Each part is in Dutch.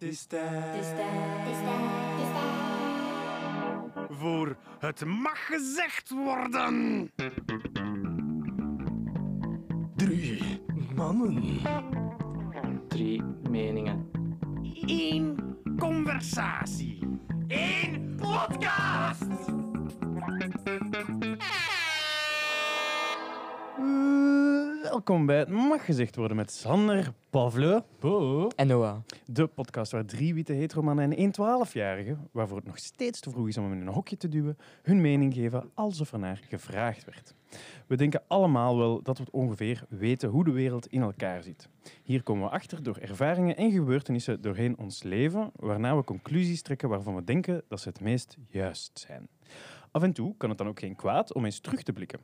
is tijd. Voor het mag gezegd worden. Drie mannen. Drie meningen. Eén conversatie. Eén podcast. Welkom bij Het Mag Gezegd Worden met Sander, Pavle, Bo, En Noah. de podcast waar drie witte heteromannen en één twaalfjarige, waarvoor het nog steeds te vroeg is om hem in een hokje te duwen, hun mening geven alsof er naar gevraagd werd. We denken allemaal wel dat we ongeveer weten hoe de wereld in elkaar zit. Hier komen we achter door ervaringen en gebeurtenissen doorheen ons leven, waarna we conclusies trekken waarvan we denken dat ze het meest juist zijn. Af en toe kan het dan ook geen kwaad om eens terug te blikken.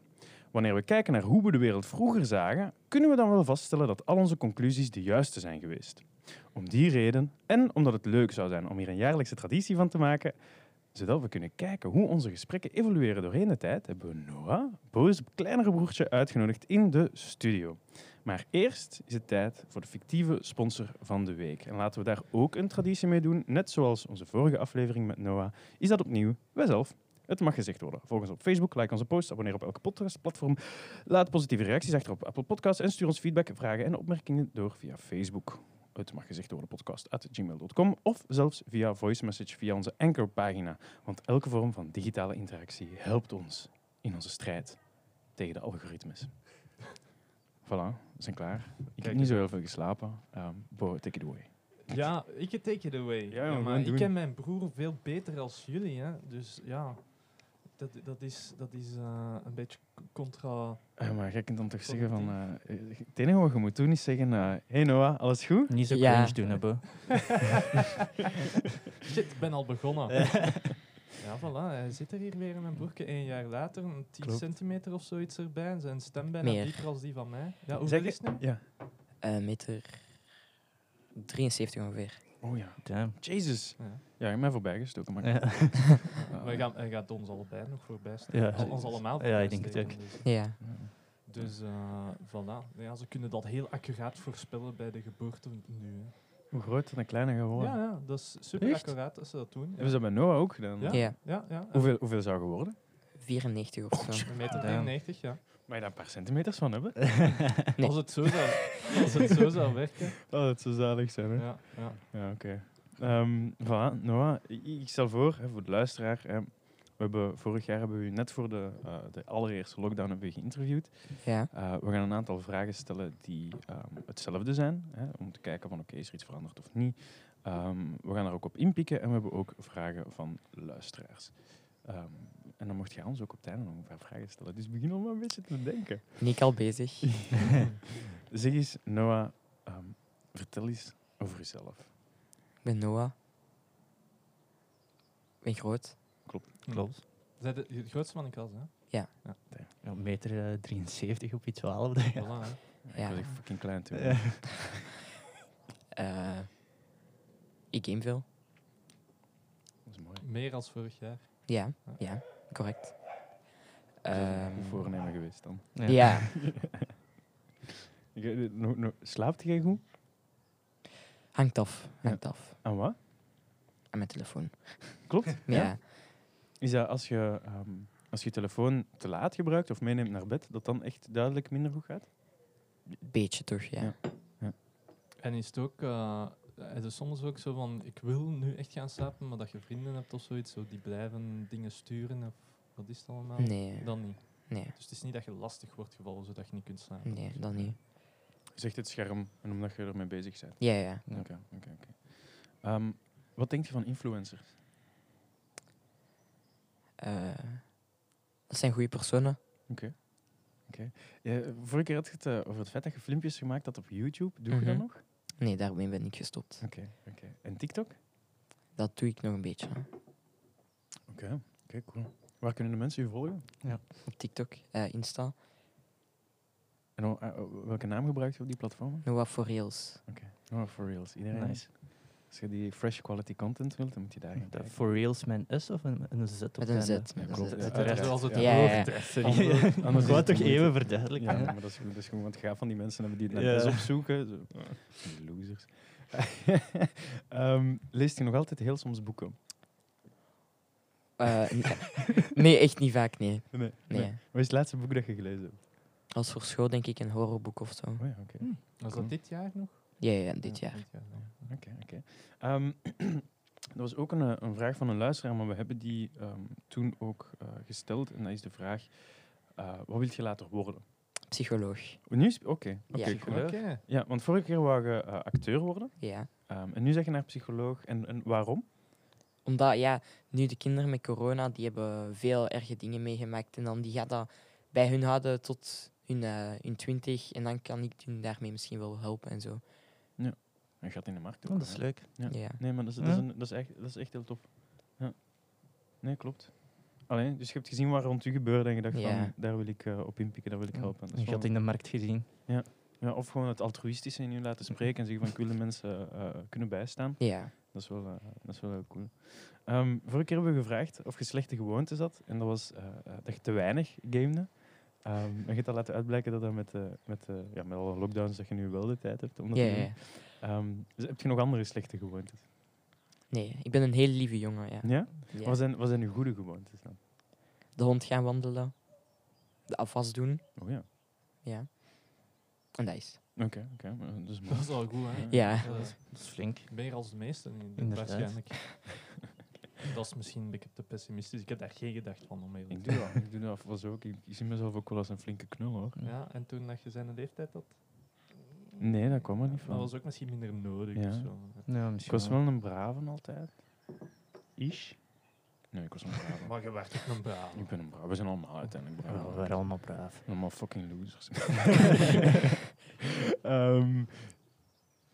Wanneer we kijken naar hoe we de wereld vroeger zagen, kunnen we dan wel vaststellen dat al onze conclusies de juiste zijn geweest. Om die reden en omdat het leuk zou zijn om hier een jaarlijkse traditie van te maken, zodat we kunnen kijken hoe onze gesprekken evolueren doorheen de tijd, hebben we Noah, Bo's kleinere broertje, uitgenodigd in de studio. Maar eerst is het tijd voor de fictieve sponsor van de week. En laten we daar ook een traditie mee doen, net zoals onze vorige aflevering met Noah, is dat opnieuw wijzelf. Het mag gezegd worden. Volg ons op Facebook, like onze posts, abonneer op elke podcastplatform, laat positieve reacties achter op Apple Podcasts en stuur ons feedback, vragen en opmerkingen door via Facebook het mag gezegd worden podcast at gmail.com of zelfs via voice message via onze anchor pagina. Want elke vorm van digitale interactie helpt ons in onze strijd tegen de algoritmes. Voilà, we zijn klaar. Ik heb niet zo heel veel geslapen. Ehm Bo, take it away. Ja, ik het take it away. Ja, we gaan maar ik doen. ken mijn broer veel beter als jullie, hè. Dus ja, dat, dat is, dat is eh, een beetje c- contra... Eh, maar jij kunt dan toch zeggen van... eh, het enige wat je moet doen is zeggen... eh, hey Noah, alles goed? Niet zo Ja. cringe doen, hè, Bo. Shit, ik ben al begonnen. ja, voilà. Hij zit er hier weer in mijn broerke één jaar later. Een 10 Klopt. centimeter of zoiets erbij. En zijn stem bijna Meer. dieper als die van mij. Ja, hoeveel Zeg- is het nu? Ja. Eh, meter 73 ongeveer. Oh ja. Damn. Jesus. Ja. Ja, ik ben voorbijgestoken, maar... Ja. Ah. Maar hij gaat, hij gaat ons allebei nog voorbij steken. Ja. Al- ons Ja, allemaal ik voorbij denk het steken, dus- Ja. Eh, Dus eh, voilà. Ja, ze kunnen dat heel accuraat voorspellen bij de geboorte nu. Hè. Hoe groot en een kleine geworden? Ja, ja, dat is super Echt? accuraat als ze dat doen. Hebben ze dat bij Noah ook gedaan? Ja. Ja. Ja, ja. eh, Hoeveel, hoeveel zou geworden? 94 of zo. Een meter Ja. 93, ja. Mag je daar een paar centimeters van hebben? Nee. Als, het zo zou, als het zo zou werken. Oh, dat zou zalig zijn, hè? Ja, Ja, ja. oké. Ehm voilà, Noah, ik, ik stel voor, hè, voor de luisteraar, hè, we hebben, vorig jaar hebben we u net voor de, eh, de allereerste lockdown hebben we geïnterviewd. Ja. Eh, we gaan een aantal vragen stellen die ehm, hetzelfde zijn, hè, om te kijken van oké, is er iets veranderd of niet. Ehm, we gaan er ook op inpikken en we hebben ook vragen van luisteraars. Ehm, en dan mocht jij ons ook op het einde nog een paar vragen stellen. Dus begin al maar een beetje te denken. Ben ik al bezig? Zeg eens, Noah, ehm, vertel eens over jezelf. Ik ben Noah. Ik ben groot. Klopt. Zij de, de grootste van de klas, hè? Ja, meter eh, 73 op iets 12. Ja. Voilà, hè. Ik Ja. was echt fucking klein toen. Eh, ik game veel. Dat is mooi. Meer als vorig jaar. Ja. Ja. Correct. Dat is een Ehm, goed voornemen geweest dan. ja. Ik weet het, no- no- slaapt jij goed? Hangt af. Hangt af. Aan wat? Aan mijn telefoon. Klopt? Ja. Is dat als je, ehm, als je telefoon te laat gebruikt of meeneemt naar bed, dat dan echt duidelijk minder goed gaat? Beetje toch, ja. Ja. En is het ook... eh, het is soms ook zo van, ik wil nu echt gaan slapen, maar dat je vrienden hebt of zoiets, zo, die blijven dingen sturen of wat is het allemaal? Nee. Dan niet. Nee. Dus het is niet dat je lastig wordt gevallen, zodat je niet kunt slapen. Eh, Nee, dan niet. Zegt het scherm en omdat je ermee bezig bent. Ja, ja. Ja. Oké, oké, oké. Ehm, Wat denk je van influencers? Eh, dat zijn goede personen. Ja, vorige keer had je het eh, over het feit dat je filmpjes gemaakt had op YouTube. Doe je dat Mhm. nog? Oké, Nee, daarmee ben ik gestopt. oké. En TikTok? Dat doe ik nog een beetje. hè. Oké, oké, cool. Waar kunnen de mensen je volgen? Op TikTok, eh, Insta. En o- eh, o- welke naam gebruikt je op die platformen? Noah for Reels. Oh, for reals. Iedereen. Nice. Als je die fresh quality content wilt, dan moet je daar gaan Dat kijken. for reals met een S of een, een Z op het Met een einde? Z. Met een klopt, Z. ja. Dat Ja, is ja. zoals het Ja, ja, ja. woord, hè. Sorry. Anders- Ik anders is wou het het toch de even moeite. verduidelijken. Ja, hè? maar dat is, goed, dat is gewoon wat gaaf van die mensen hebben die het Ja. net eens opzoeken. Zo. Die losers. Ehm, leest je nog altijd heel soms boeken? Eh, n- nee, echt niet vaak, nee. Nee. nee. Wat is het laatste boek dat je gelezen hebt? Als voor school denk ik een horrorboek of zo. Oh ja, oké. Was Cool. dat dit jaar nog? Ja, ja, dit Ja, jaar. ja. Oké, oké. Ehm, Er was ook een, eh, een vraag van een luisteraar, maar we hebben die ehm, toen ook eh, gesteld. En dat is de vraag, eh, wat wil je later worden? Psycholoog. Oh, Nu is- Oké, oké, Ja. cool. Oké. Ja, want vorige keer wou je eh, acteur worden. Ja. Ehm, en nu zeg je naar psycholoog. En, en waarom? Omdat, ja, nu de kinderen met corona, die hebben veel erge dingen meegemaakt. En dan die gaat dat bij hun houden tot hun, eh, hun twintig. En dan kan ik hun daarmee misschien wel helpen en zo. En gaat in de markt ook. Oh, dat is hè? leuk. Ja. Ja. Nee, maar dat is, dat is, Hm? Ja. een- dat is, echt, dat is echt heel tof. Ja. Nee, klopt. Alleen, dus je hebt gezien waar rond u gebeurde en je dacht Ja. van, daar wil ik eh, op inpikken, daar wil ik helpen. Dat is Je had wel- in de markt gezien. ja, of gewoon het altruïstische in u laten spreken en zeggen van, ik wil de mensen eh, eh, kunnen bijstaan. Ja. Dat is wel, eh, dat is wel heel cool. Ehm, vorige keer hebben we gevraagd of je slechte gewoontes had. En dat was eh, eh, dat je te weinig gamede. Ehm en je hebt al laten uitblijken dat dat met, eh, met, eh, ja, met alle lockdowns dat je nu wel de tijd hebt. Om dat Ja, te doen. ja. Ehm, dus heb je nog andere slechte gewoontes? Nee, ik ben een hele lieve jongen, ja. Ja? Ja. Wat, zijn, wat zijn uw goede gewoontes dan? De hond gaan wandelen. De afwas doen. Oh ja, Ja. En dat is. oké. oké. eh, dat is mooi. Dat is al goed, hè? Ja. Dat is Dat is flink. meer als de meesten, in- Inderdaad. waarschijnlijk. Dat is misschien een beetje te pessimistisch. Ik heb daar geen gedacht van, om eerlijk Ik te doe dat. Ik doe dat was ook. Ik, ik zie mezelf ook wel als een flinke knul hoor. zijn. Ja, en toen dat je zijn leeftijd had, Nee, dat kwam er niet dat van. was ook misschien minder nodig. Ja. of zo. Ja, Ik misschien was wel een brave altijd. Ish? Nee, ik was een brave. Maar je werd ook een braaf. Ik ben een brave. We zijn allemaal uiteindelijk Ja, brave. we waren allemaal braaf. Allemaal fucking losers. Ehm,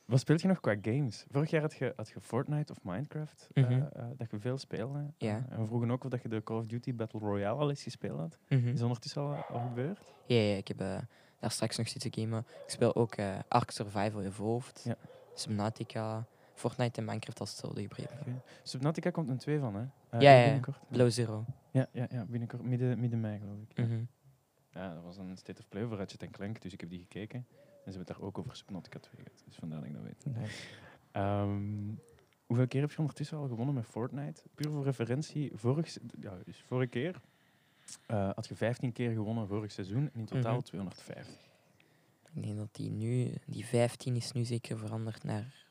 wat speelt je nog qua games? Vorig jaar had je, had je Fortnite of Minecraft, eh, Mhm. eh, dat je veel speelde. Ja. Eh, en we vroegen ook of dat je de Call of Duty Battle Royale al eens gespeeld had. Mhm. Is dat ondertussen al, al gebeurd? Ja, ja, ik heb eh, daar straks nog zitten gamen. Ik speel ook eh Ark Survival Evolved, Ja. Subnautica, Fortnite en Minecraft als hetzelfde gebreid. Subnautica komt een 2 van, hè? Eh, Ja, ja, ja. Binnenkort. Below Zero. Ja, ja, ja, binnenkort, midden, midden mei geloof ik. Mhm. Ja, dat was een State of Play over Ratchet Clank, dus ik heb die gekeken. En ze hebben het daar ook over Subnautica 2 gehad, dus vandaar dat ik dat weet. Ehm, hoeveel keer heb je ondertussen al gewonnen met Fortnite? Puur voor referentie, vorig, se- ja, dus vorige keer eh, had je 15 keer gewonnen vorig seizoen en in totaal Mhm. 250. Ik denk dat die nu, die 15 is nu zeker veranderd naar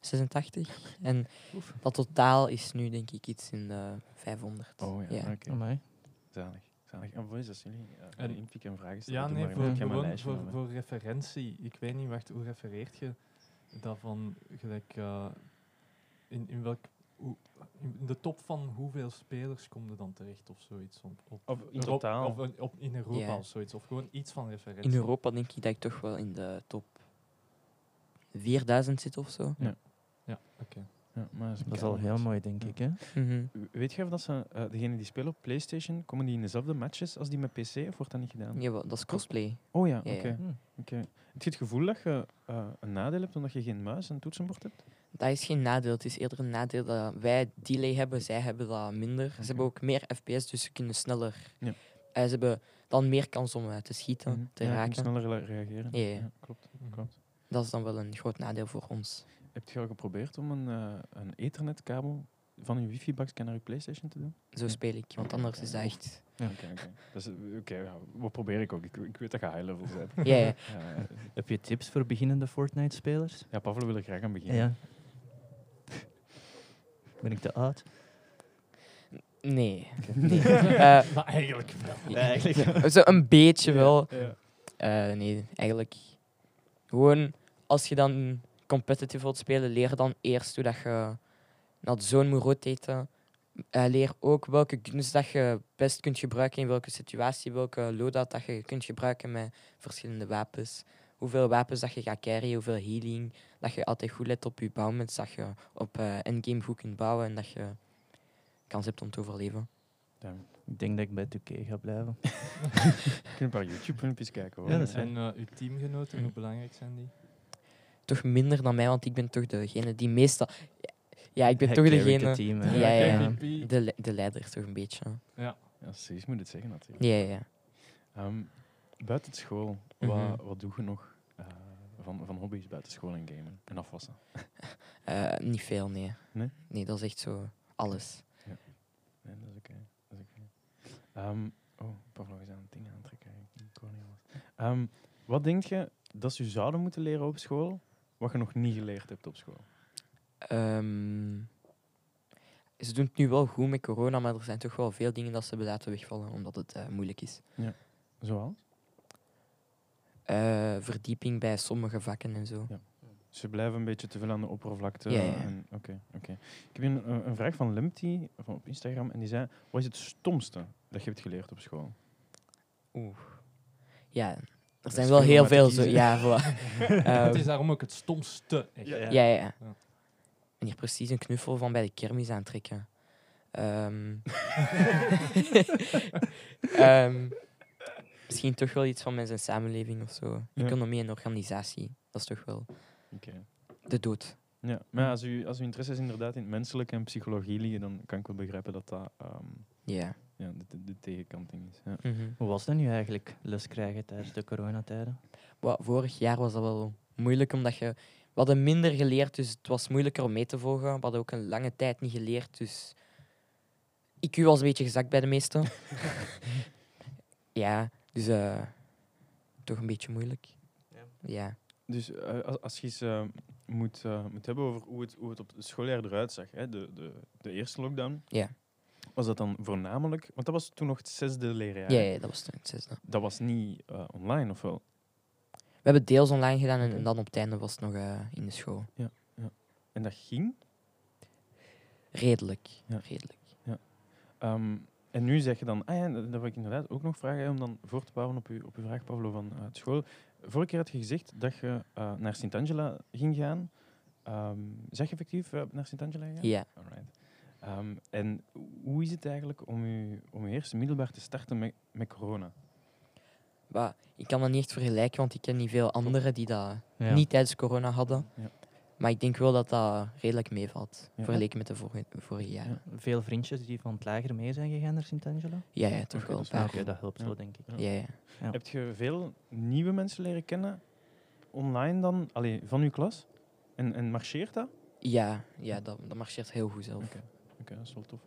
86. en dat totaal is nu denk ik iets in de 500. Oh ja, oké. Amai. Zalig. Zalig. En wat is dat jullie eh En- een inpikken en vragen stellen? Ja, Doe nee, maar, voor, ik heb mijn gewoon lijstje voor, hebben. voor referentie. Ik weet niet, wacht, hoe refereert je dat van gelijk... eh, in, in welk... Hoe, in de top van hoeveel spelers komt er dan terecht of zoiets? Op, op Of in Euro- totaal. Of een- op, in Europa Ja. of zoiets. Of gewoon iets van referentie. In Europa denk ik dat ik toch wel in de top 4000 zit of zo. Ja, maar dat is, Dat is al heel mooi, denk Ja. ik. Hè? Mhm. Weet je of dat ze, eh degene die spelen op PlayStation, komen die in dezelfde matches als die met PC of wordt dat niet gedaan? Jawel, dat is cosplay. Oh ja, oké. Ja, ja. Hm. oké. Heb je het gevoel dat je eh, een nadeel hebt omdat je geen muis en toetsenbord hebt? Dat is geen nadeel. Het is eerder een nadeel dat wij delay hebben, zij hebben dat minder. Ze hebben ook meer FPS, dus ze kunnen sneller. Mhm. Ja. Eh, ze hebben dan meer kans om eh, te schieten, Mhm. te Ja, je kunt raken. sneller le- reageren. Ja, ja. klopt. Mhm. klopt. Dat is dan wel een groot nadeel voor ons. Heb je al geprobeerd om een, eh, een ethernetkabel van je wifi-box naar je PlayStation te doen? Zo speel ik, want anders is dat echt. Oké, oké. Dat is- Oké, ja, wat probeer ik ook? Ik, ik weet dat je high level bent. Ja, ja. Ja, ja. Heb je tips voor beginnende Fortnite-spelers? ja, Pavlo wil er graag aan Ja. beginnen. ja. Ben ik te oud? Nee. nee. Eh, Maar eigenlijk wel. zo een beetje Ja, wel. ja. Eh, nee, eigenlijk. Gewoon als je dan competitive wilt spelen, leer dan eerst hoe dat je naar de zone moet rotaten. Eh, leer ook welke guns dat je best kunt gebruiken in welke situatie, welke loadout dat je kunt gebruiken met verschillende wapens. Hoeveel wapens dat je gaat carryen, hoeveel healing. Dat je altijd goed let op je bouwments, dat je op eh, endgame goed kunt bouwen en dat je kans hebt om te overleven. Damn. Ik denk dat ik bij 2K ga blijven. Je kunt een paar YouTube-filmpjes kijken hoor. Ja, dat is En eh, uw teamgenoten, Mhm. hoe belangrijk zijn die? Toch minder dan mij, want ik ben toch degene die meestal... Ja, ik ben Hij toch carryt het degene... Team, Ja, hè. ja, ja. MVP. De, le- de leider toch een beetje. Ja, precies, moet het zeggen natuurlijk. Ja, ja. Ehm, buiten school, Mhm. wat, wat doe je nog? Eh, van, van hobby's buiten school en gamen en afwassen? Eh, niet veel, nee. Nee? Nee, dat is echt zo alles. Nee, dat is oké. dat is oké. Ehm, oh, Pavlov is aan het ding aantrekken. Ik kon niet anders. Ehm, wat denk je dat ze zouden moeten leren op school, wat je nog niet geleerd hebt op school? Ehm, ze doen het nu wel goed met corona, maar er zijn toch wel veel dingen dat ze hebben laten wegvallen omdat het eh, moeilijk is. Zoals? Eh, verdieping bij sommige vakken en zo. Ja. Ze blijven een beetje te veel aan de oppervlakte. Ja, ja. en- Oké, oké. Ik heb hier een, een- een vraag van Limpty van op Instagram en die zei: Wat is het stomste dat je hebt geleerd op school? Ja, er is zijn wel veel om heel uit te veel zo. kiezen. Ja, voilà. Het Ehm, is daarom ook het stomste. Echt. Ja, ja. Ja, ja. ja. Ja. En hier precies een knuffel van bij de kermis aantrekken. Ehm Ehm, misschien toch wel iets van met zijn samenleving of zo. Ja. Economie en organisatie. Dat is toch wel Oké. de dood. Ja, maar ja, als, u, als uw interesse is inderdaad in het menselijke en psychologie liggen, dan kan ik wel begrijpen dat dat ehm, Ja. ja, de, de, de tegenkanting is. Ja. Mhm. Hoe was dat nu eigenlijk, les krijgen tijdens de coronatijden? Wa- vorig jaar was dat wel moeilijk, omdat je... We hadden minder geleerd, dus het was moeilijker om mee te volgen. We hadden ook een lange tijd niet geleerd, dus... IQ was een beetje gezakt bij de meesten. ja, dus... eh, toch een beetje moeilijk. Ja. Dus eh, als, als je eens eh, moet, eh, moet hebben over hoe het, hoe het op het schooljaar eruit zag, hè, de, de, de eerste lockdown. Ja. Was dat dan voornamelijk, want dat was toen nog het zesde leerjaar. Ja, hè? ja, dat was toen het zesde. Dat was niet eh, online, of wel? We hebben deels online gedaan en, en dan op het einde was het nog eh, in de school. En dat ging. Redelijk. Ja. redelijk. Ehm, en nu zeg je dan, ah ja, dat dat wil ik inderdaad ook nog vragen, hè, om dan voor te bouwen op, uw op uw vraag, Pablo, van eh, het school. Vorige keer had je gezegd dat je eh, naar Sint-Angela ging gaan. Ehm, zeg je effectief eh, naar Sint-Angela gegaan? Ja. Alright. Ehm, en hoe is het eigenlijk om je, om je eerste middelbaar te starten met, met corona? Maar ik kan dat niet echt vergelijken, want ik ken niet veel anderen die dat Ja. niet tijdens corona hadden. Ja. Maar ik denk wel dat dat redelijk meevalt, Ja. vergeleken met de vorige, vorige jaren. Veel vriendjes die van het lager mee zijn gegaan naar Sint-Angelo? Ah, Ja, ja, toch Oké, dat wel een is wel Oké, paar. goed. dat helpt Ja. wel, denk ik. Ja. Ja, ja. Ja. Heb je veel nieuwe mensen leren kennen online dan? Allee, van uw klas? En, en marcheert dat? ja, ja dat, dat marcheert heel goed zelf. Oké. Oké, dat is wel tof.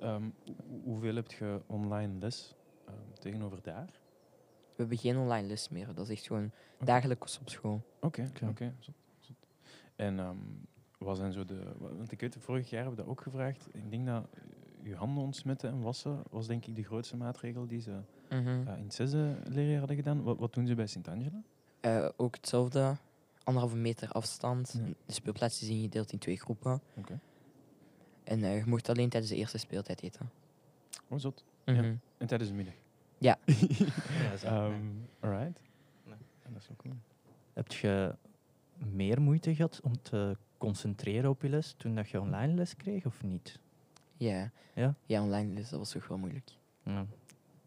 Ehm, hoe- hoeveel heb je online les ehm, tegenover daar? We hebben geen online les meer, dat is echt gewoon Oké. dagelijks op school. Oké, Oké. oké. zot, zot. En ehm wat zijn zo de... wa- Want ik weet, vorig jaar hebben we dat ook gevraagd. Ik denk dat eh, je handen ontsmetten en wassen was denk ik de grootste maatregel die ze Mhm. eh, in het zesde leerjaar hadden gedaan. Wat, wat doen ze bij Sint-Angela? Eh, ook hetzelfde, anderhalve meter afstand. Ja. De speelplaats is ingedeeld in twee groepen. Oké. En eh, je mocht alleen tijdens de eerste speeltijd eten. Oh, zot. Mhm. En tijdens de middag. Ja. Ja, zo. Ehm, alright. Nee. En dat is wel cool. Heb je meer moeite gehad om te concentreren op je les toen dat je online les kreeg of niet? Ja. Ja? ja, online les, dat was toch wel moeilijk. Ja,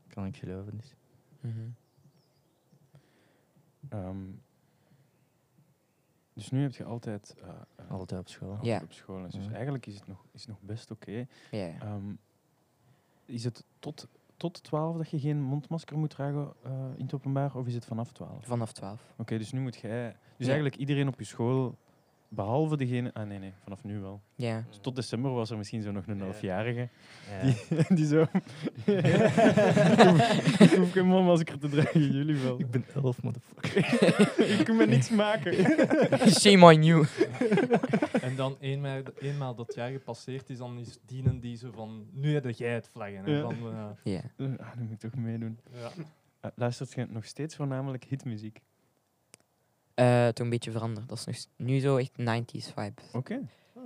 kan ik geloven. Dus. Mhm. Ehm, dus nu heb je altijd... eh, eh, Altijd op school. altijd Ja. op school. les. Dus Mhm. eigenlijk is het nog, is het nog best oké. Ja, ja. Ehm, is het tot, tot 12 dat je geen mondmasker moet dragen eh, in het openbaar? Of is het vanaf 12? Oké, vanaf 12. dus nu moet jij... Dus Ja. eigenlijk iedereen op je school, behalve degene... Ah, nee, nee, vanaf nu wel. Ja. Dus tot december was er misschien zo nog een Ja. halfjarige Ja. die, die zo... ik, hoef, ik hoef geen mondmasker te dragen, jullie wel. Ik ben elf, motherfucker. Ik kan me niks maken. Shame on you. En dan eenmaal, eenmaal dat jaar gepasseerd is, dan is dienen die zo van, nu heb jij het vlaggen. hè, Ja. Van, eh, Ja. Ah, nu moet ik toch meedoen. ja. Eh, luistert je nog steeds voornamelijk hitmuziek? Eh, toch een beetje veranderd. Dat is nog s- nu zo echt 90s vibe. Oké.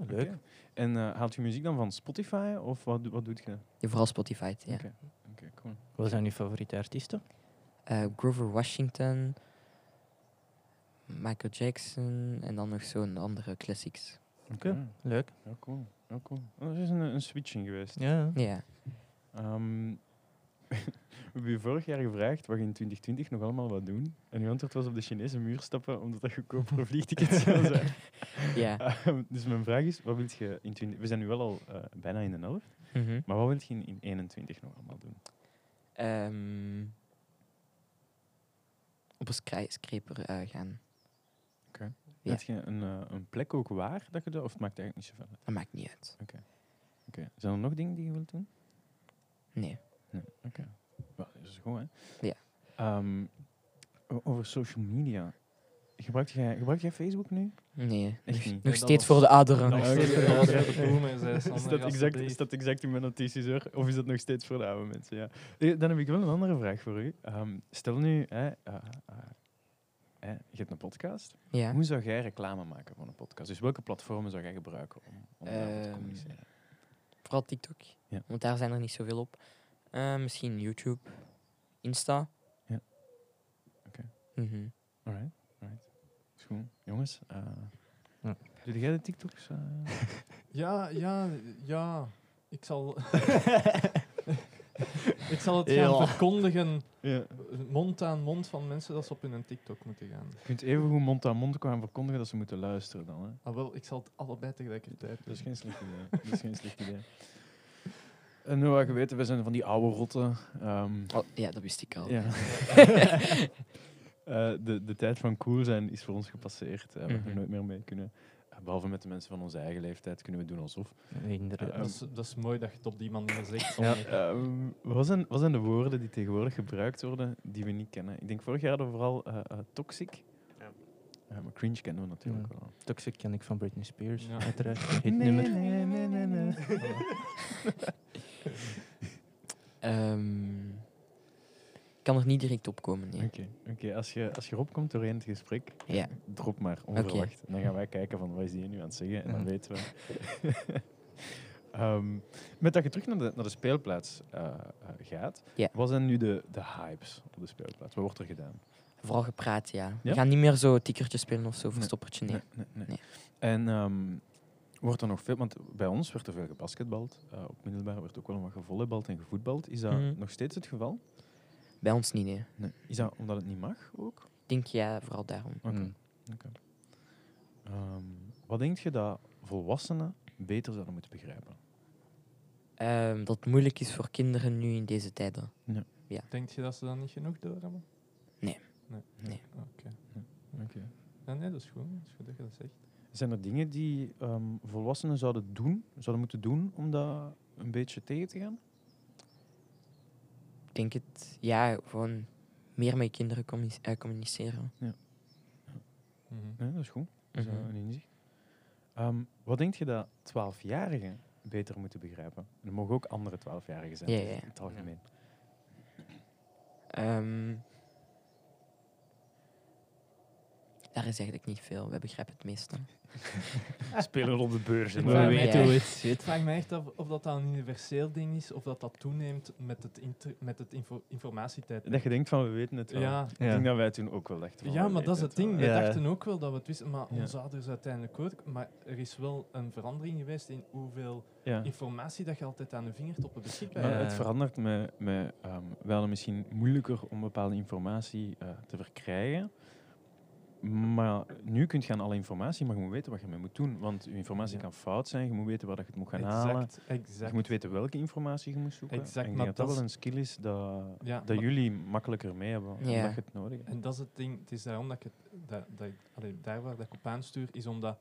leuk. Oké. En eh, haalt je muziek dan van Spotify of wat, doe- wat doet je? Ja, vooral Spotify. Ja. Oké, oké, cool. Wat zijn je favoriete artiesten? Eh, Grover Washington, Michael Jackson en dan nog zo'n andere classics. Oké. Leuk. Ja, cool. Ja, cool. Oh, er is een, een switching geweest. Ja. Ja. Ehm, we hebben je vorig jaar gevraagd wat je in 2020 nog allemaal wat doen. En je antwoord was op de Chinese muur stappen, omdat dat goedkoper vliegtickets zou zijn. ja. Ehm, dus mijn vraag is, wat wil je in 20... We zijn nu wel al eh, bijna in de helft, Mhm. maar wat wil je in, in 21 nog allemaal doen? Ehm, op een skyscraper eh, gaan. Ja. Heb je een, eh, een plek ook waar dat je dat, of het maakt eigenlijk niet zoveel uit? Dat maakt niet uit. Oké. Zijn er nog dingen die je wilt doen? Nee. Wel, dat is goed, hè? Ja. Ehm, o- over social media. Gebruik jij, gebruik jij Facebook nu? Nee. Echt Nog, niet. nog Nee, dat steeds was- voor de aderen. Dat was oké. steeds voor de Oké. andere boomer, zei Is Sander, dat, exact, is alsjeblieft. dat exact in mijn notities hoor? Of is dat nog steeds voor de oude mensen? Ja. Eh, Dan heb ik wel een andere vraag voor u. Ehm, stel nu, hè, eh, eh, hè, je hebt een podcast. Ja. Hoe zou jij reclame maken voor een podcast? Dus welke platformen zou jij gebruiken om, om daarover te Ehm, communiceren? Vooral TikTok. Ja. Want daar zijn er niet zoveel op. Eh, misschien YouTube, Insta. Ja. Oké. Mhm. Alright, alright. Is goed. Jongens, eh Ja. doe jij de TikToks? eh? Ja, ja, ja. Ik zal... ik zal het gaan Ja. verkondigen, ja. mond aan mond, van mensen dat ze op hun TikTok moeten gaan. Je kunt even goed mond aan mond gaan verkondigen dat ze moeten luisteren dan. Hè? Ah, wel, ik zal het allebei tegelijkertijd Dat is doen. geen slecht idee. Dat is geen slecht idee. En nou, je weet, we zijn van die oude rotten. ehm, Oh, ja, dat wist ik al. Ja. Eh, de, de tijd van cool zijn is voor ons gepasseerd. Eh, we hebben Mhm. nooit meer mee kunnen. Eh, behalve met de mensen van onze eigen leeftijd kunnen we doen alsof. Inderdaad. Eh, Dat, is, dat is mooi dat je het op die manier zegt. Sander. Ehm, wat, zijn, wat zijn de woorden die tegenwoordig gebruikt worden die we niet kennen? Ik denk vorig jaar hadden we vooral eh, eh, toxic. Ja. Eh, maar cringe kennen we natuurlijk Ja. wel. Toxic ken ik van Britney Spears, Ja. uiteraard. Hit nummer. nee, nee, nee, nee. Ehm, ik kan er niet direct op komen. Nee. Oké, oké. als, je, als je erop komt doorheen het gesprek, Ja. drop maar onverwacht. En Dan gaan wij kijken van wat is die nu aan het zeggen en dan Ja. weten we. Ehm, met dat je terug naar de, naar de speelplaats eh, eh, gaat, Ja. wat zijn nu de, de hypes op de speelplaats? Wat wordt er gedaan? Vooral gepraat, ja. Ja? We gaan niet meer zo tikkertjes spelen of zo, Nee. verstoppertje. Nee. nee, nee. Nee. En ehm, wordt er nog veel, want bij ons werd er veel gebasketbald. eh, op middelbaar werd ook wel wat gevolleybald en gevoetbald. Is dat Mhm. nog steeds het geval? Bij ons niet, nee. Ik Is dat omdat het niet mag ook? denk ja, vooral daarom. Oké. Mm. Ehm, wat denk je dat volwassenen beter zouden moeten begrijpen? Ehm, dat het moeilijk is voor kinderen nu in deze tijden. Denk je dat ze dat niet genoeg doorhebben? Nee. Nee. Nee. Oké. Ja, nee, dat is goed. Dat is goed dat je dat zegt. Zijn er dingen die ehm, volwassenen zouden doen, zouden moeten doen om dat een beetje tegen te gaan? Ik denk het, ja, gewoon meer met je kinderen communi- eh, communiceren. Mhm. Nee, dat is goed. Dat is eh, Mhm. een inzicht. Ehm, wat denk je dat 12-jarigen beter moeten begrijpen? En er mogen ook andere 12-jarigen zijn, Ja, het is ja. in het algemeen. Ehm, daar is eigenlijk niet veel. We begrijpen het meeste. Spelen op de beurs. Ik en We zo. vraag mij- weten hoe het Ik vraag me echt af of dat dan een universeel ding is, of dat dat toeneemt met het, inter- met het info- informatietijd. Dat je denkt van, we weten het wel. Ja, Ik denk dat wij toen ook wel dachten van, ja, we maar dat is weten het ding. wel. Wij Ja. dachten ook wel dat we het wisten, maar Ja. onze ouders uiteindelijk ook. Maar er is wel een verandering geweest in hoeveel Ja. informatie dat je altijd aan de vingertoppen beschikbaar Maar hebt. Ja. het verandert me. me ehm, we hadden misschien moeilijker om bepaalde informatie eh, te verkrijgen. Maar nu kun je aan alle informatie, maar je moet weten wat je mee moet doen. Want je informatie Ja. kan fout zijn, je moet weten waar dat je het moet gaan halen. Exact, Je exact. moet weten welke informatie je moet zoeken. Exact, En ik maar denk dat dat dat wel is- een skill is dat, Ja, dat maar- jullie makkelijker mee hebben, omdat Ja. je het nodig hebt. En dat is het ding. Het is daarom dat ik het, dat, dat ik- allee, daar waar dat ik op aanstuur, is omdat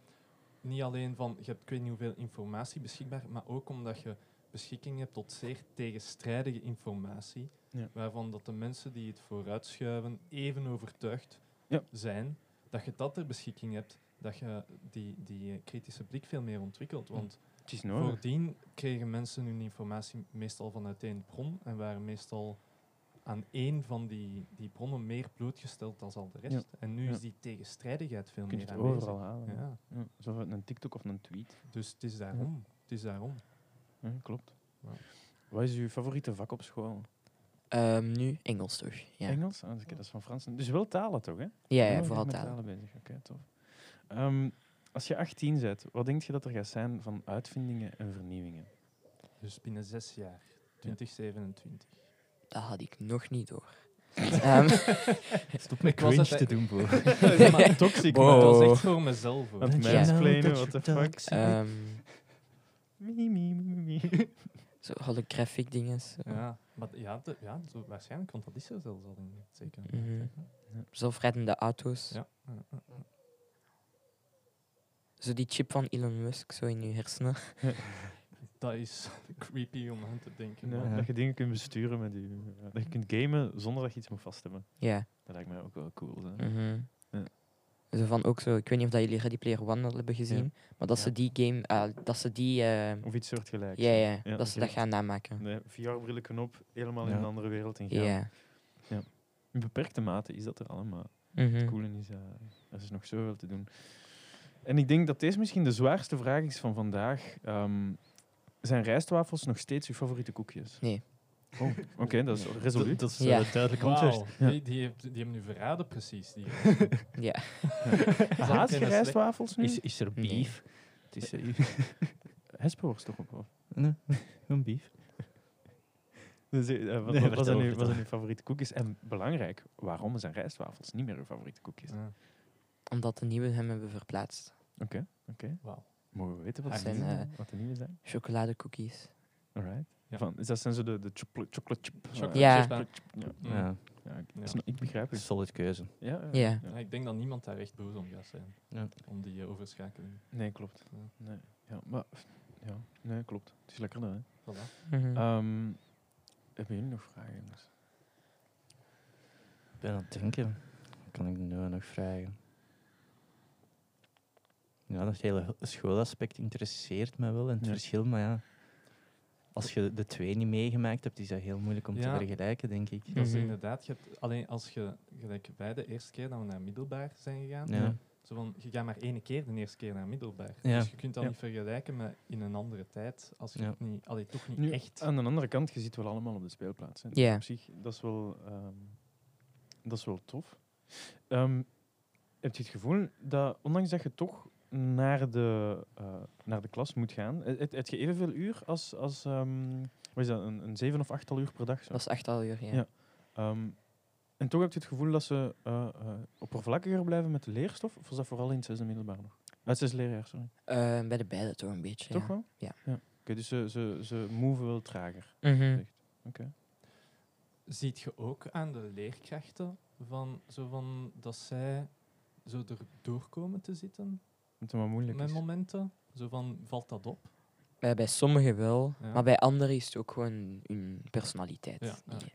niet alleen van je hebt ik weet niet hoeveel informatie beschikbaar, maar ook omdat je beschikking hebt tot zeer tegenstrijdige informatie, Ja. waarvan dat de mensen die het vooruitschuiven even overtuigd Ja. zijn dat je dat ter beschikking hebt, dat je die, die eh, kritische blik veel meer ontwikkelt. Want Het is nodig. Voordien kregen mensen hun informatie meestal vanuit één bron en waren meestal aan één van die, die bronnen meer blootgesteld dan al de rest. En nu Ja. is die tegenstrijdigheid veel Je kunt meer het aanwezig. overal halen. Ja. Ja. Zoals een TikTok of een tweet. Dus het is daarom. Het is daarom. Ja, klopt. Ja. Wat is uw favoriete vak op school? Ehm, nu Engels toch? Ja, Engels? Ah, oké, dat is van Frans. Dus wel talen toch, hè? ja, Oh, ja je vooral bent met talen. bezig. Oké, tof. Ehm, als je 18 bent, wat denk je dat er gaat zijn van uitvindingen en vernieuwingen? Dus binnen zes jaar, 2027. Dat had ik nog niet door. Ehm, Stop met Ik was cringe te het- doen, voor. maar Toxic. Wow. Dat man. was echt voor mezelf. hoor. Aan het Ja. mansplainen, what the fuck. Eh, ehm, Mie, mie, mie, mie. zo holographic dingen. zo. Ja, maar ja, de- ja zo, waarschijnlijk, want dat is er zelfs al in. Zeker. Mhm. Zelfrijdende auto's. Ja. ja, ja. Zo die chip van Elon Musk, zo in je hersenen. Dat is creepy om aan te denken. Ja. Dat je dingen kunt besturen met je... ja, Dat je kunt gamen zonder dat je iets moet vaststemmen. Ja. Dat lijkt mij ook wel cool. Hè? mhm. Ja. Zo van ook zo, ik weet niet of dat jullie Ready Player One al hebben gezien, maar dat ze die game, eh, dat ze die, eh, Of iets soortgelijks. ja, ja, Ja, dat ze oké. dat gaan namaken. Nee, VR-brillen knop, helemaal in Ja. een andere wereld in Ja. gaan. In beperkte mate is dat er allemaal. mhm. Het coole is, dat er is nog zoveel te doen. En ik denk dat deze misschien de zwaarste vraag is van vandaag. Ehm, zijn rijstwafels nog steeds uw favoriete koekjes? Nee. Oh, oké, dat is resoluut. Dat is Ja. eh, duidelijk Wauw, antwoord. Ja. die, die, heeft- die hebben nu verraden precies. Die Ja. Haat je Zijn rijstwafels nu? Is, is er Nee. beef? Het is eh, Hespenworst toch ook wel? nee, een beef. Dus, eh, wat, Nee, wat, vertel, zijn uw, vertel. wat zijn uw favoriete koekjes? En belangrijk, waarom zijn rijstwafels niet meer uw favoriete koekjes? Ja. Omdat de nieuwe hem hebben verplaatst. Wauw. Mogen we weten wat, Dat de zijn, nieuwe- wat de nieuwe zijn? Chocoladecookies. Alright. Ja. Van, is dat zijn zo de, de chocolate, chocolate chip. Chocolate Ja. chip, hè. Ja. Mm. Ja, Ja, ik, Ja. snap- ik begrijp het. solid keuze. Ja, ja, Ja. Ja, ik denk dat niemand daar echt boos om gaat zijn. Ja. Om die eh, overschakeling. Nee, klopt. Ja. Nee, ja, maar, ja, nee, klopt. Het is lekkerder, hè? Voilà. Mhm. Ehm, hebben jullie nog vragen? jongens? Ik ben aan het denken. Wat Kan ik nu nog vragen? Ja, dat hele schoolaspect interesseert me wel en het Ja. verschil, maar ja. Als je de twee niet meegemaakt hebt, is dat heel moeilijk om Ja. te vergelijken, denk ik. Dat is dus Mhm. inderdaad, je hebt, alleen als je, gelijk wij de eerste keer dat we naar middelbaar zijn gegaan, Ja. zo van, je gaat maar één keer de eerste keer naar middelbaar. Ja. Dus je kunt dat Ja. niet vergelijken met in een andere tijd, als je Ja. het niet, allee, toch niet Nu, echt... Aan de andere kant, je zit wel allemaal op de speelplaats. Hè? Dus Ja. Op zich, dat is wel, ehm, dat is wel tof. Ehm, heb je het gevoel dat, ondanks dat je toch naar de, eh, naar de klas moet gaan, eh, heb heb je evenveel uur als, als ehm, wat is dat, een, een zeven of achttal uur per dag? Zo? Dat is acht al uur, ja. Ja. Ehm, en toch heb je het gevoel dat ze eh, eh, oppervlakkiger blijven met de leerstof? Of was dat vooral in het zesde middelbaar nog? Ah, het zesde leerjaar, sorry. Eh, bij de beide toch een beetje. Toch ja. wel? Ja. Oké, dus ze, ze, ze moven wel trager. Mhm. Ziet je ook aan de leerkrachten van, zo van, dat zij zo er doorkomen te zitten Omdat het maar moeilijk dus met is. momenten? Zo van, valt dat op? Eh, bij sommigen wel, Ja. maar bij anderen is het ook gewoon hun personaliteit. Ja, ja. Die-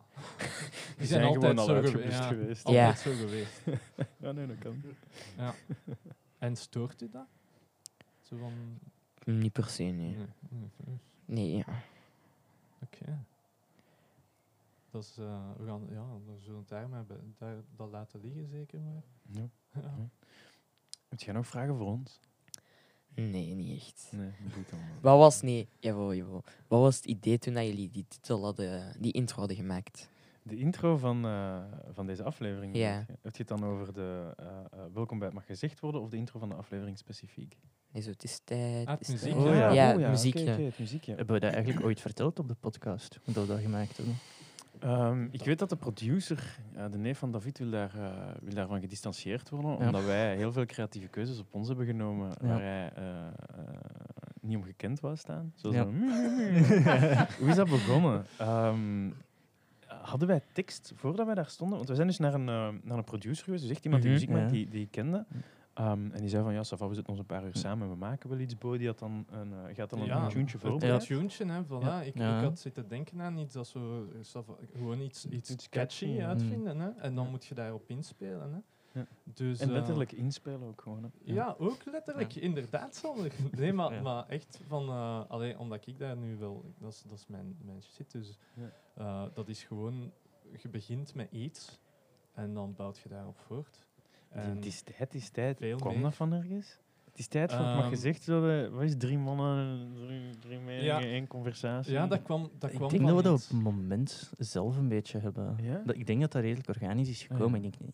Die zijn, altijd zo gewe- ja, geweest. Ja. Altijd zo geweest. Ja, nee, dat kan. En stoort u dat? Zo van... Niet per se, nee. Nee. nee. Nee, ja. Oké. Dat is, eh, we gaan, ja, we zullen het daar maar bij, daar, dat laten liggen zeker maar. Ja. Ja. Heb jij nog vragen voor ons? Nee, niet echt. Nee, dat doet allemaal. Wat was, nee, jawel, jawel. Wat was het idee toen dat jullie die titel hadden, die intro hadden gemaakt? De intro van, eh, van deze aflevering. Ja. bedoel je? Heb je het dan over de eh, eh, Welkom bij het mag gezegd worden of de intro van de aflevering specifiek? Nee, zo, het is tijd. Ah, het het is muziekje. tijd. Oh ja, ja, oké, het muziekje. oké, het muziekje. Eh, Hebben we dat eigenlijk ooit verteld op de podcast? Hoe dat we dat gemaakt hebben? Ehm, ik weet dat de producer, eh, de neef van David, wil, daar, eh, wil daarvan gedistanceerd worden. Ja. Omdat wij heel veel creatieve keuzes op ons hebben genomen Ja. waar hij eh, eh, niet om gekend was staan. Zo Ja. zo, "Mm, Hoe is dat begonnen? Ehm, hadden wij tekst voordat wij daar stonden? Want we zijn dus naar een, eh, naar een producer geweest, dus echt iemand die Mhm. muziek maakt Ja. die, die ik kende. Ehm, en die zei van, ja, Safa, we zitten ons een paar uur samen, we maken wel iets. Bo, die had dan een, eh, gaat dan Ja, een tuntje Het voorbereid. tuntje, hè, voilà. Ik, Ja. ik had zitten denken aan iets dat zo, eh, zo van- gewoon iets, iets, Iets catchy catchy, ja. uitvinden. Hè. En dan moet je daarop inspelen. Hè. Ja. Dus, En eh, letterlijk inspelen ook gewoon. hè. Ja, ook letterlijk. Inderdaad, Sander. Nee, maar, Ja. maar echt van... eh alleen omdat ik daar nu wel... Dat is, dat is mijn, mijn shit. Dus Ja. eh, dat is gewoon... Je begint met iets en dan bouwt je daarop voort. En het, is, tijd, het is tijd. Ehm, veel Kwam meer. dat van ergens? Het is tijd van, het mag Ehm, gezegd worden, wat is drie mannen, drie, drie meningen, Ja. één conversatie? ja, dat kwam, dat Ik kwam denk van dat we dat iets. op het moment zelf een beetje hebben. Ja? Dat, ik denk dat dat redelijk organisch is Ah, gekomen. ja. Ik denk,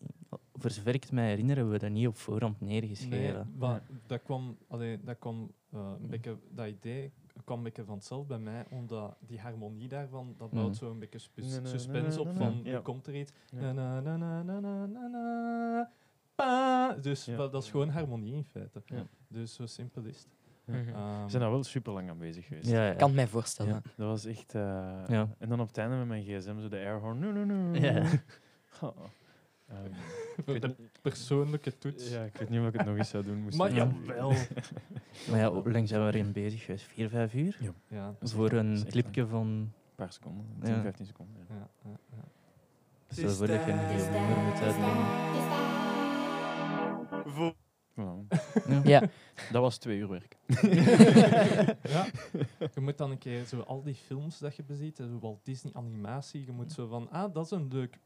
voor zover ik het mij herinner, hebben we dat niet op voorhand Nee, neergeschreven. maar dat kwam... Allee, dat kwam... eh, een beetje, dat idee kwam een beetje vanzelf bij mij, omdat die harmonie daarvan, dat bouwt Mm. zo een beetje spus- Na, na, na, suspense na, na, op na. van, Ja. er komt er iets, Ja. Na, na, na, na, na, na, na, pa. Dus Ja. wel, dat is gewoon harmonie in feite. Ja. Dus zo simpel is het. Mhm. Ehm, We zijn daar wel super lang aan bezig geweest. Ja, ja. Ik kan het mij voorstellen. Ja. Dat was echt... eh, Ja. En dan op het einde met mijn gsm, zo de airhorn. No, no, no. Ja. Ha. Oh. Ehm, Voor de persoonlijke toets. ja, ik weet niet of ik het nog eens zou doen. Moest Maar ik- jawel. Maar ja, hoe lang zijn we erin bezig geweest? Vier, vijf uur? Ja, is Voor echt- dat is een echt clipje van... Een paar seconden, 10, Ja. 15 seconden. ja. ja, ja, ja. Stel voor dat je een heel nummer moet uitleggen. Voor Voilà. Ja, Dat was twee uur werk. ja. Je moet dan een keer zo al die films dat je beziet, eh, zo Walt Disney animatie, je moet zo van, ah, dat is een leuk,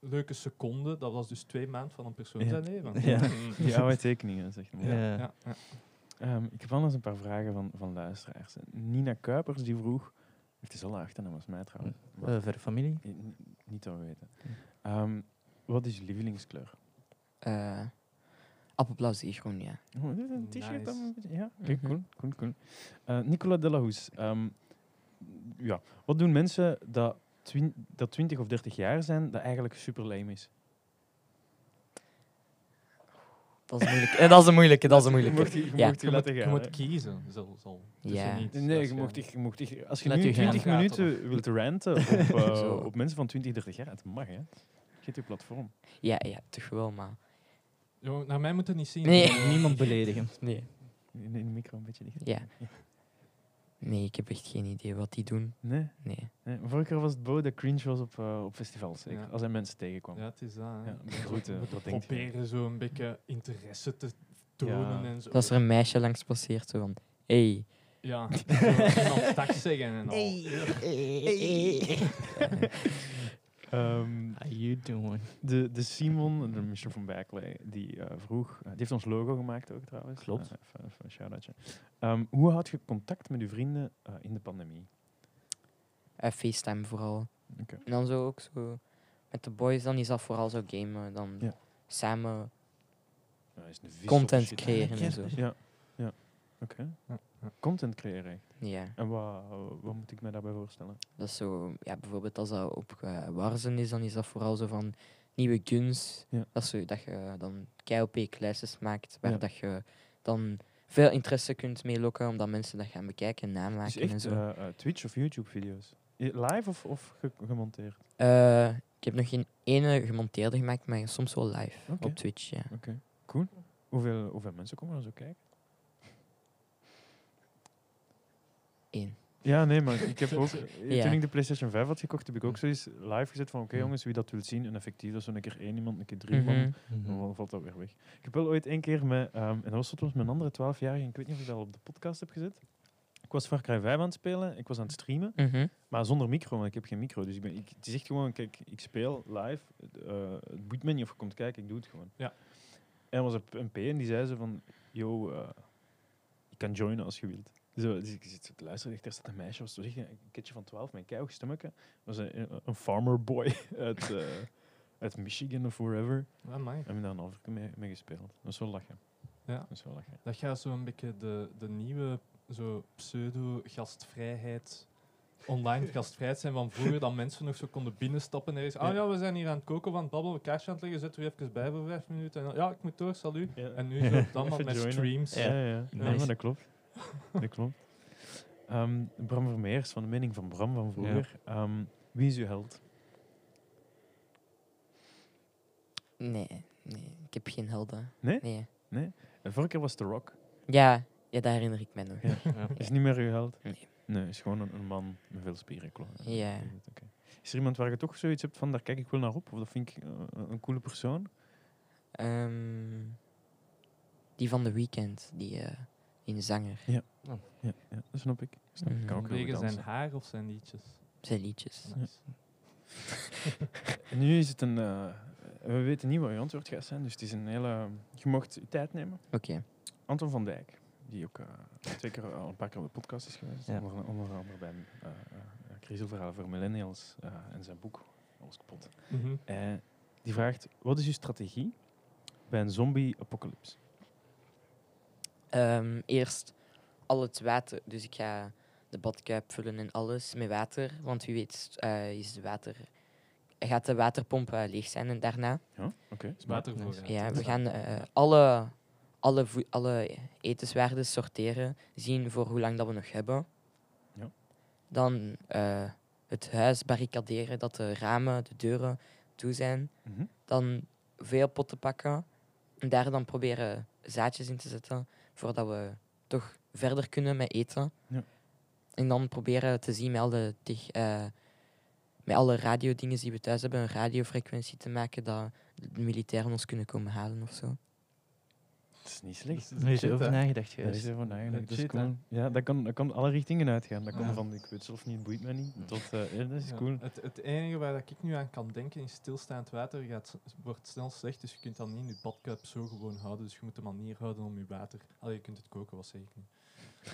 leuke seconde. Dat was dus twee maanden van een persoon Ja. zijn leven. Ja. Mm. Die oude tekeningen, zeg maar. Ja. Ja, ja. Ehm, ik heb wel eens een paar vragen van, van luisteraars. Nina Kuipers die vroeg, het is al haar achternaam als mij trouwens, maar Eh, verre familie. i- ni- niet al weten. Ehm, wat is je lievelingskleur? eh appelblauw zeegroen, ja. Oh, dit is een t-shirt dan? Nice. een beetje- Ja, oké, Mhm. cool, cool, cool. Eh, Nicola de la Hoes, ehm, ja. Wat doen mensen dat, twin- dat 20 of 30 jaar zijn, dat eigenlijk super lame is? Dat is moeilijk. Eh, dat is een moeilijke, dat is Je een moeilijke. mocht die, je Ja. mocht die Je, moet, laten je gaan. moet hè. kiezen, zal, zal. dus Ja. niet, nee, als je mocht, echt- je mocht echt- als je Laat nu u gaan. 20 minuten wilt ranten op, eh, Zo. op mensen van 20, 30 jaar, het mag hè. Geet je platform. Ja, ja, toch wel, maar... Jongen, Naar mij moet het niet zien. Nee. Niemand beledigen. Nee. In de micro een beetje dicht. Ja. Nee, ik heb echt geen idee wat die doen. Nee, Nee. nee. Vorige keer was het Bo dat cringe was op, eh, op festivals, zeker? Ja. Als hij mensen tegenkwam. Ja, het is dat. hè. Ja, Je moet- goed, je eh, moet wat denk je? proberen zo een beetje interesse te tonen Ja. en zo. Dat is er een meisje langs passeert, zo van... Hey. Ja, zo iemand dag zeggen en al. eh, Ehm, How you doing? de, de Simon, de Mr. van Berkeley, die eh, vroeg... eh, die heeft ons logo gemaakt ook trouwens. Klopt. Eh, even, even een shout-outje. Ehm, hoe houd je contact met je vrienden eh, in de pandemie? eh FaceTime vooral. Oké. En dan zo ook zo... Met de boys dan is dat vooral zo gamen. Dan Ja. samen Nou, is een vis of content shit. creëren en zo. Ja, ja. Oké. Ja, ja. Content creëren. echt. Ja. En wat, wat moet ik me daarbij voorstellen? Dat is zo... Ja, bijvoorbeeld als dat op eh, Warzen is, dan is dat vooral zo van... Nieuwe guns. Ja. Dat, is zo, dat je dan KOP-classes maakt, waar Ja. dat je dan veel interesse kunt meelokken, omdat mensen dat gaan bekijken en Dus namaken en echt zo. eh, eh, Twitch of YouTube video's? Eh, Live of, of ge- gemonteerd? Eh, ik heb nog geen ene gemonteerde gemaakt, maar soms wel live Oké. op Twitch. Ja. Hoeveel, hoeveel mensen komen er zo kijken? Eén. Ja, nee, maar ik heb ook... eh, Ja. Hm. Toen ik de PlayStation 5 had gekocht, heb ik ook zoiets live gezet van oké jongens, wie dat wil zien, en effectief, dat is zo'n keer één iemand, een keer drie Mhm. man. Dan valt dat weer weg. Ik heb wel ooit één keer met, ehm, en dat was tot met een andere 12-jarige, en ik weet niet of ik dat al op de podcast heb gezet. Ik was Far Cry 5 aan het spelen, ik was aan het streamen, Mhm. Maar zonder micro, want ik heb geen micro. Dus ik ben, ik, het is echt gewoon, kijk, ik speel live. Het, eh, het boeit me niet of je komt kijken, ik doe het gewoon. Ja. En er was een p- een P en die zei ze van, yo, eh je kan joinen als je wilt. Zo, dus ik zit zo te luisteren, echt, daar staat een meisje, was zo echt een kindje van 12 met een keihard stemmetje. was een, een- een farmer boy uit, eh, uit Michigan of wherever. Amai. En we daar een half uur mee, mee gespeeld. Dat is wel lachen. Ja. Dat is wel lachen. Dat gaat zo een beetje de, de nieuwe zo pseudo-gastvrijheid, online gastvrijheid zijn van vroeger, dat mensen nog zo konden binnenstappen en er is, ah ja, we zijn hier aan het koken, we aan het babbelen, we kaarsje aan het leggen, zet er even bij voor vijf minuten. En dan, ja, ik moet door, salut. En nu zo dan maar Even met joinen. streams. Ja, ja, ja. Ja. Ja, Nice. maar dat klopt. dat klopt. Ehm, Bram Vermeers, van de mening van Bram van vroeger. Ehm, wie is uw held? Nee, nee, ik heb geen helden. Nee? nee. De vorige keer was The Rock. Ja, ja, daar herinner ik me nog. Ja. Is niet meer uw held? Nee. Nee, is gewoon een, een man met veel spieren. klopt. Ja. Oké. Is er iemand waar je toch zoiets hebt van, daar kijk ik wel naar op? Of dat vind ik eh, een- een coole persoon? Ehm, die van de weekend, die, eh, die zanger. Ja, ja dat snap ik. Snap ik. Kan ook heel goed Tegen zijn dansen. haar of zijn liedjes. Zijn liedjes. Nice. En nu is het een... eh, we weten niet wat je antwoord gaat zijn, dus het is een hele... Je mocht je tijd nemen. Oké. Anton van Dijk, die ook eh, twee keer al een paar keer op de podcast is geweest. Ja. Onder, onder andere bij eh eh, Griezelverhalen voor Millennials eh, en zijn boek Alles kapot. Mhm. Eh, die vraagt: wat is uw strategie bij een zombie-apocalypse? Ehm, eerst al het water. Dus ik ga de badkuip vullen en alles met water. Want wie weet eh, is de water... Gaat de waterpomp eh, leeg zijn en daarna... Ja, oké. Dus water voor. eh, Ja, we toestaan. gaan eh, alle, alle, voe- alle etenswaarden sorteren, zien voor hoe lang dat we nog hebben. Ja. Dan eh, het huis barricaderen, dat de ramen, de deuren toe zijn. Mhm. Dan veel potten pakken en daar dan proberen zaadjes in te zetten voordat we toch verder kunnen met eten. Ja. En dan proberen te zien met alle, tech- eh, met alle radiodingen die we thuis hebben, een radiofrequentie te maken dat de militairen ons kunnen komen halen of zo. Dat is niet slecht. Er is over nagedacht Daar is geweest. er van eigenlijk. dus Dat is Legit, hè? cool. Ja, dat kan, dat kan alle richtingen uitgaan. Dat kan Ja. van, ik weet zelf niet, boeit mij niet. Tot, eh, Ah. ja, dat is Ja, cool. Het, het enige waar dat ik nu aan kan denken is stilstaand water gaat, s- wordt snel slecht, dus je kunt dan niet in je badkuip zo gewoon houden. Dus je moet een manier houden om je water... Allee, je kunt het koken, wat zeg ik nu?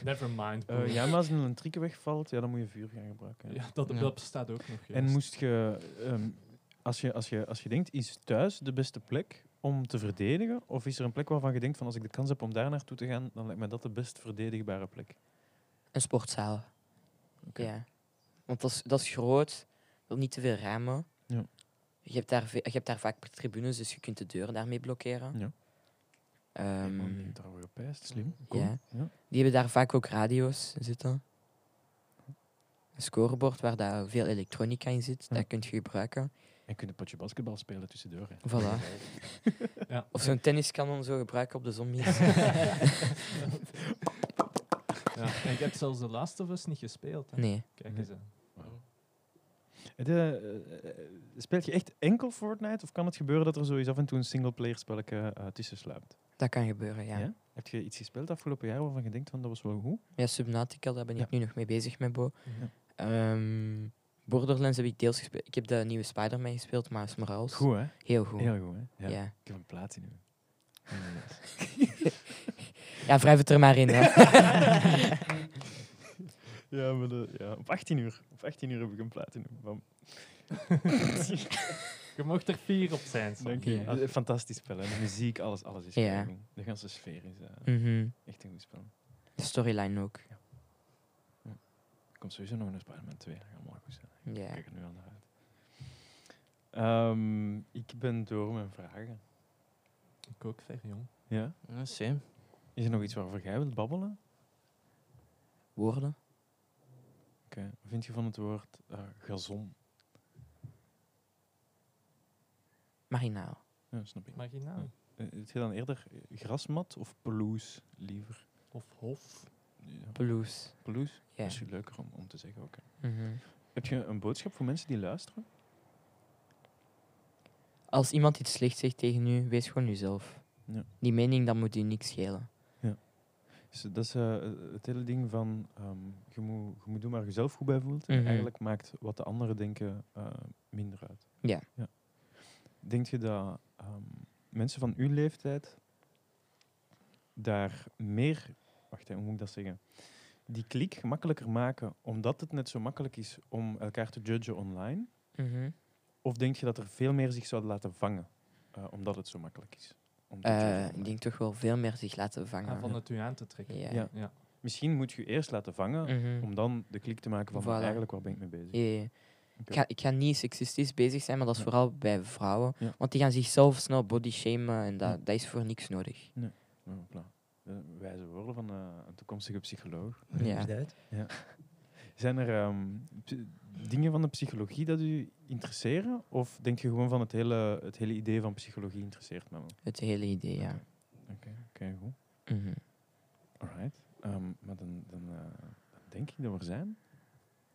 Never mind. Eh, broer. ja, maar als er een trick wegvalt, ja, dan moet je vuur gaan gebruiken. ja. Ja, dat, Ja. dat bestaat ook nog. En juist. moest je, ehm, als, je, als, je, als je denkt, is thuis de beste plek om te verdedigen? Of is er een plek waarvan je denkt, van als ik de kans heb om daar naartoe te gaan, dan lijkt mij dat de best verdedigbare plek? Een sportzaal. Ja. Want dat is, dat is groot, wil niet te veel ramen. Ja. Je, hebt daar, ve- je hebt daar vaak tribunes, dus je kunt de deuren daarmee blokkeren. Ja. Ehm, Man, die heeft daar weer gepijst, slim. ja. Kom. Ja. Die hebben daar vaak ook radio's zitten. Een scorebord waar daar veel elektronica in zit, Ja. dat kun je gebruiken. En kun je een potje basketbal spelen tussendoor. hè. Voilà. Ja. Of zo'n tenniskanon zo gebruiken op de zombies. Ja, en ik heb zelfs de Last of Us niet gespeeld. Hè. nee. Kijk eens aan. Het, eh, eh, eh, speelt je echt enkel Fortnite? Of kan het gebeuren dat er zo eens af en toe een singleplayer spelletje eh, tussen sluipt? Dat kan gebeuren, ja. ja. Heb je iets gespeeld afgelopen jaar waarvan je denkt van dat was wel goed? Subnautica, daar ben ik Ja. nu nog mee bezig met Bo. Ja. Ehm, Borderlands heb ik deels gespeeld. Ik heb de nieuwe Spider-Man gespeeld, maar Morales. Goed hè? Heel goed. Ja. Heel goed hè? Ja. Ja. Ik heb een Ehm, platinum. wrijf het er maar in. Hè. ja, maar de- ja, op 18 uur. Op 18 uur heb ik een platinum. Bam. Je mocht er vier op zijn. Sam. Dank je. Ja. Eh, Fantastisch spel hè? De muziek, alles, alles is Ja. goed. De ganse sfeer is eh, Mhm. echt een goed spel. De storyline ook. Er komt sowieso nog een Spider-Man 2. Dat gaat allemaal goed zijn. Ik Ja. kijk er nu al naar uit. Ehm, ik ben door mijn vragen. Ik ook, ver jong. Ja? Ja, same. Is er nog iets waarover jij wilt babbelen? Woorden. Oké. Wat vind je van het woord eh, gazon? Marinaal. Ja, snap ik. Marginaal. Eh, Heb je dan eerder grasmat of pelouse liever? Of Hof. Ja. Blues. Pelouse? Ja. Dat is leuker om, om te zeggen ook. hè. Mhm. Heb je een boodschap voor mensen die luisteren? Als iemand iets slechts zegt tegen u, wees gewoon jezelf. Ja. Die mening, dat moet u niks schelen. Dus dat is eh, het hele ding van ehm, je, moet, je moet doen waar je zelf goed bij voelt. En Mhm. eigenlijk maakt wat de anderen denken eh, minder uit. Ja. Denk je dat ehm, mensen van uw leeftijd daar meer, wacht hè, hoe moet ik dat zeggen, die klik gemakkelijker maken omdat het net zo makkelijk is om elkaar te judgen online? Mhm. Of denk je dat er veel meer zich zouden laten vangen eh, omdat het zo makkelijk is? om te judgen Eh, online? ik denk toch wel veel meer zich laten vangen. Ah, van het u aan te trekken. Ja. Ja. ja. Misschien moet je je eerst laten vangen Mhm. om dan de klik te maken van Voilà. eigenlijk waar ben ik mee bezig. Ja, ja, ja. Oké. Ik, ga, ik ga niet seksistisch bezig zijn, maar dat is Ja. vooral bij vrouwen. Ja. Want die gaan zichzelf snel body shamen en dat, Ja. dat is voor niks nodig. Ja, voilà. Eh, wijze woorden van eh, een toekomstige psycholoog. Ja. Zijn er ehm, p- dingen van de psychologie dat u interesseren? Of denk je gewoon van het hele, het hele idee van psychologie interesseert me? wel? Het hele idee, ja. Oké, oké, goed. Mhm. Alright. Ehm, maar dan, dan, eh, dan denk ik dat we er zijn.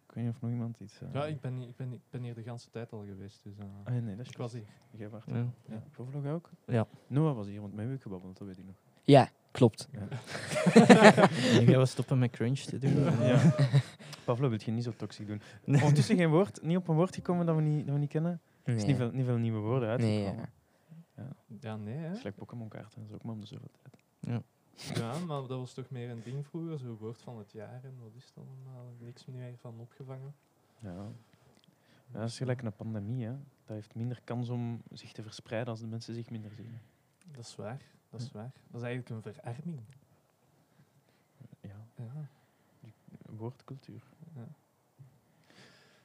Ik weet niet of nog iemand iets... eh, Ja, ik ben, hier- ik, ben, ik ben hier de hele tijd al geweest. Dus, eh, Ah, nee, dat is ik was hier. Jij wacht. Ja. Ja. Voorvlog ook? Ja. Noah was hier, want mij heb ik gebabbeld, dat weet ik nog. Ja, klopt. Ik denk dat we stoppen met crunch te doen. Ja. Pavlo, wil je niet zo toxisch doen? Ondertussen geen woord, niet op een woord gekomen dat we niet, dat we niet kennen. Er is niet veel, niet veel nieuwe woorden Nee, uitgekomen. ja. Ja, nee, hè. Slecht Pokémon kaarten, dat is ook maar om de zoveel tijd. Ja, maar dat was toch meer een ding vroeger, zo'n woord van het jaar en wat is het allemaal? Niks meer van opgevangen. Ja. Ja, dat is gelijk een pandemie, hè. Dat heeft minder kans om zich te verspreiden als de mensen zich minder zien. Dat is waar, dat is waar. Dat is eigenlijk een verarming. Ja, Ja. woordcultuur. Ja.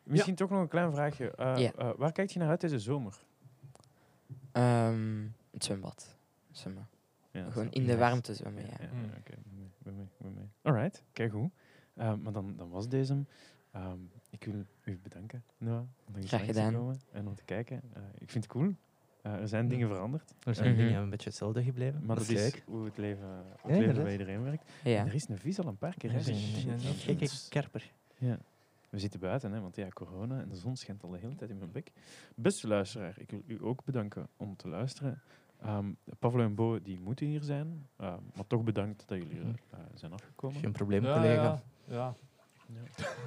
Misschien toch nog een klein vraagje. Eh, Ja. eh, waar kijk je naar uit deze zomer? Ehm, het zwembad. Zwemmen. Ja, Gewoon zo. in de Nice. warmte zwemmen, ja. Ja, Mm. ja, oké. ben mee, ben mee, ben mee. Alright, kijk hoe. Eh, maar dan, dan was deze. hem. Ehm, ik wil u bedanken, Noah, om nog eens Graag langs te gedaan. komen en om te kijken. Eh, ik vind het cool. Eh, er zijn dingen veranderd, Er zijn Mhm. dingen een beetje hetzelfde gebleven. maar dat is leuk. hoe het leven, hoe het Ja, leven inderdaad. bij iedereen werkt. Ja. En er is een vis al een paar keer. Er hè. is een- Dus- Ja, ja. Kijk, kijk, kerper. Ja. We zitten buiten, hè, want ja, corona en de zon schijnt al de hele tijd in mijn bek. Beste luisteraar, ik wil u ook bedanken om te luisteren. Ehm Pavlo en Bo, die moeten hier zijn. eh, maar toch bedankt dat jullie er eh, zijn afgekomen. Mhm. Geen probleem, ja, collega. ja, ja.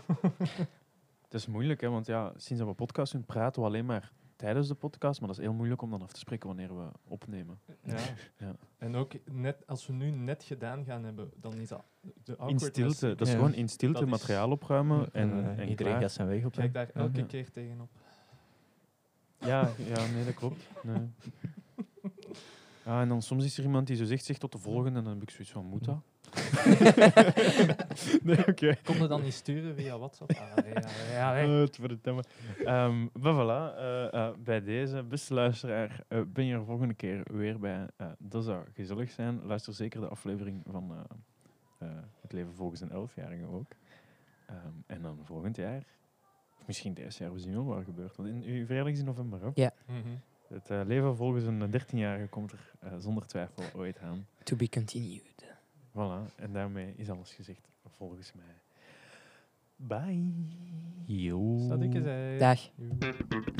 Het is moeilijk, hè, want ja, sinds dat we podcast doen, praten we alleen maar tijdens de podcast. Maar dat is heel moeilijk om dan af te spreken wanneer we opnemen. Ja. Ja. En ook net, als we nu net gedaan gaan hebben, dan is dat de In awkwardness. stilte, dat is Ja. gewoon in stilte Dat is- materiaal opruimen. En, eh, en iedereen klaar. gaat zijn weg op. Ik kijk daar elke Ja. keer tegenop. Ja, ja, nee, dat klopt. Nee. Ja, en dan soms is er iemand die zo zegt, zeg tot de volgende, en dan heb ik zoiets van, moet dat? nee, oké. Kom je dan niet sturen via WhatsApp? Ah, nee, ja, ja. Eh, het wordt het thema. Ehm, maar voilà, eh, eh, bij deze, beste luisteraar, eh, ben je er volgende keer weer bij. Eh, dat zou gezellig zijn. Luister zeker de aflevering van eh, eh, Het Leven Volgens een Elfjarige ook. Ehm, en dan volgend jaar, of misschien deze jaar, we zien wel wat er gebeurt. Want in, uw verjaardag is in november, hè? Mhm. Het eh, leven volgens een 13-jarige komt er eh, zonder twijfel ooit aan. To be continued. Voilà, en daarmee is alles gezegd, volgens mij. Bye. Yo. Staat ik eens, hè. Dag. Joe.